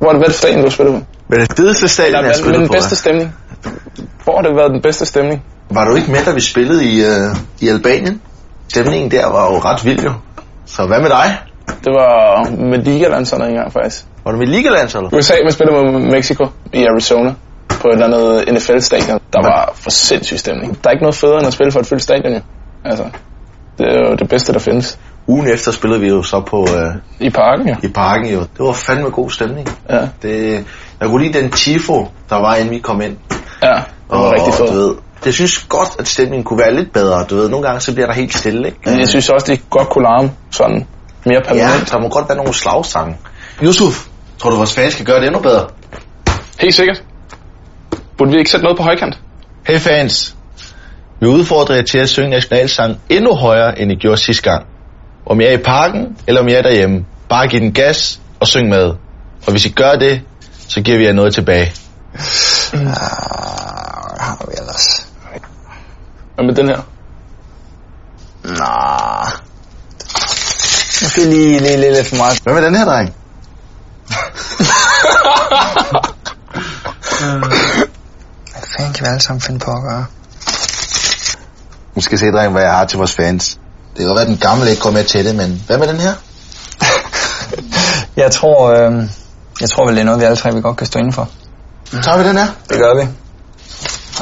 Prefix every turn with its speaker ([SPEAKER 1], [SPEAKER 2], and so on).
[SPEAKER 1] var det, hvad stadion, du spillede på?
[SPEAKER 2] Men det fedeste stadion, jeg
[SPEAKER 1] men, men
[SPEAKER 2] spillede
[SPEAKER 1] den
[SPEAKER 2] på,
[SPEAKER 1] bedste
[SPEAKER 2] var,
[SPEAKER 1] stemning. Hvor har det været den bedste stemning?
[SPEAKER 2] var du ikke med, da vi spillede i, øh, i Albanien? Stemningen der var jo ret vild jo. Så hvad med dig?
[SPEAKER 1] Det var med ligalandserne engang faktisk.
[SPEAKER 2] Var du med i Ligalandsholdet?
[SPEAKER 1] USA, man spillede mod Mexico i Arizona på et eller andet NFL-stadion. Der var for sindssyg stemning. Der er ikke noget federe end at spille for et fyldt stadion, jo. Altså, det er jo det bedste, der findes.
[SPEAKER 2] Ugen efter spillede vi jo så på, øh,
[SPEAKER 1] I parken, jo.
[SPEAKER 2] i parken jo. Det var fandme god stemning.
[SPEAKER 1] Ja,
[SPEAKER 2] Det, jeg kunne lide den tifo, der var inden vi kom ind.
[SPEAKER 1] ja. Det var rigtig
[SPEAKER 2] du
[SPEAKER 1] fedt.
[SPEAKER 2] ved, jeg synes godt, at stemningen kunne være lidt bedre. Du ved, nogle gange så bliver der helt stille, ikke?
[SPEAKER 1] Men jeg synes også, de godt kunne larme sådan mere
[SPEAKER 2] Ja,
[SPEAKER 1] permanent.
[SPEAKER 2] der må godt være nogle slagsange. Yusuf, tror du, vores fans kan gøre det endnu bedre?
[SPEAKER 1] Helt sikkert. Burde vi ikke sætte noget på højkant?
[SPEAKER 2] Hey fans, vi udfordrer jer til at synge nationalsang endnu højere, end I gjorde sidste gang. Om I er i parken, eller om I er derhjemme, bare giv den gas og syng med. Og hvis I gør det, så giver vi jer noget tilbage.
[SPEAKER 3] Ah, har vi ellers?
[SPEAKER 1] Hvad med den her?
[SPEAKER 3] Nå. Måske lige, lige, lige lidt for meget.
[SPEAKER 2] Hvad med den her, dreng?
[SPEAKER 3] Hvad fanden kan vi alle sammen finde på at gøre?
[SPEAKER 2] Nu skal jeg se, dreng, hvad jeg har til vores fans. Det kan godt være, at den gamle ikke går med til det, men hvad med den her?
[SPEAKER 3] Jeg tror, øh, jeg tror vel, det er noget, vi alle tre vi godt kan stå indenfor.
[SPEAKER 2] Tager vi den her?
[SPEAKER 3] Det gør vi.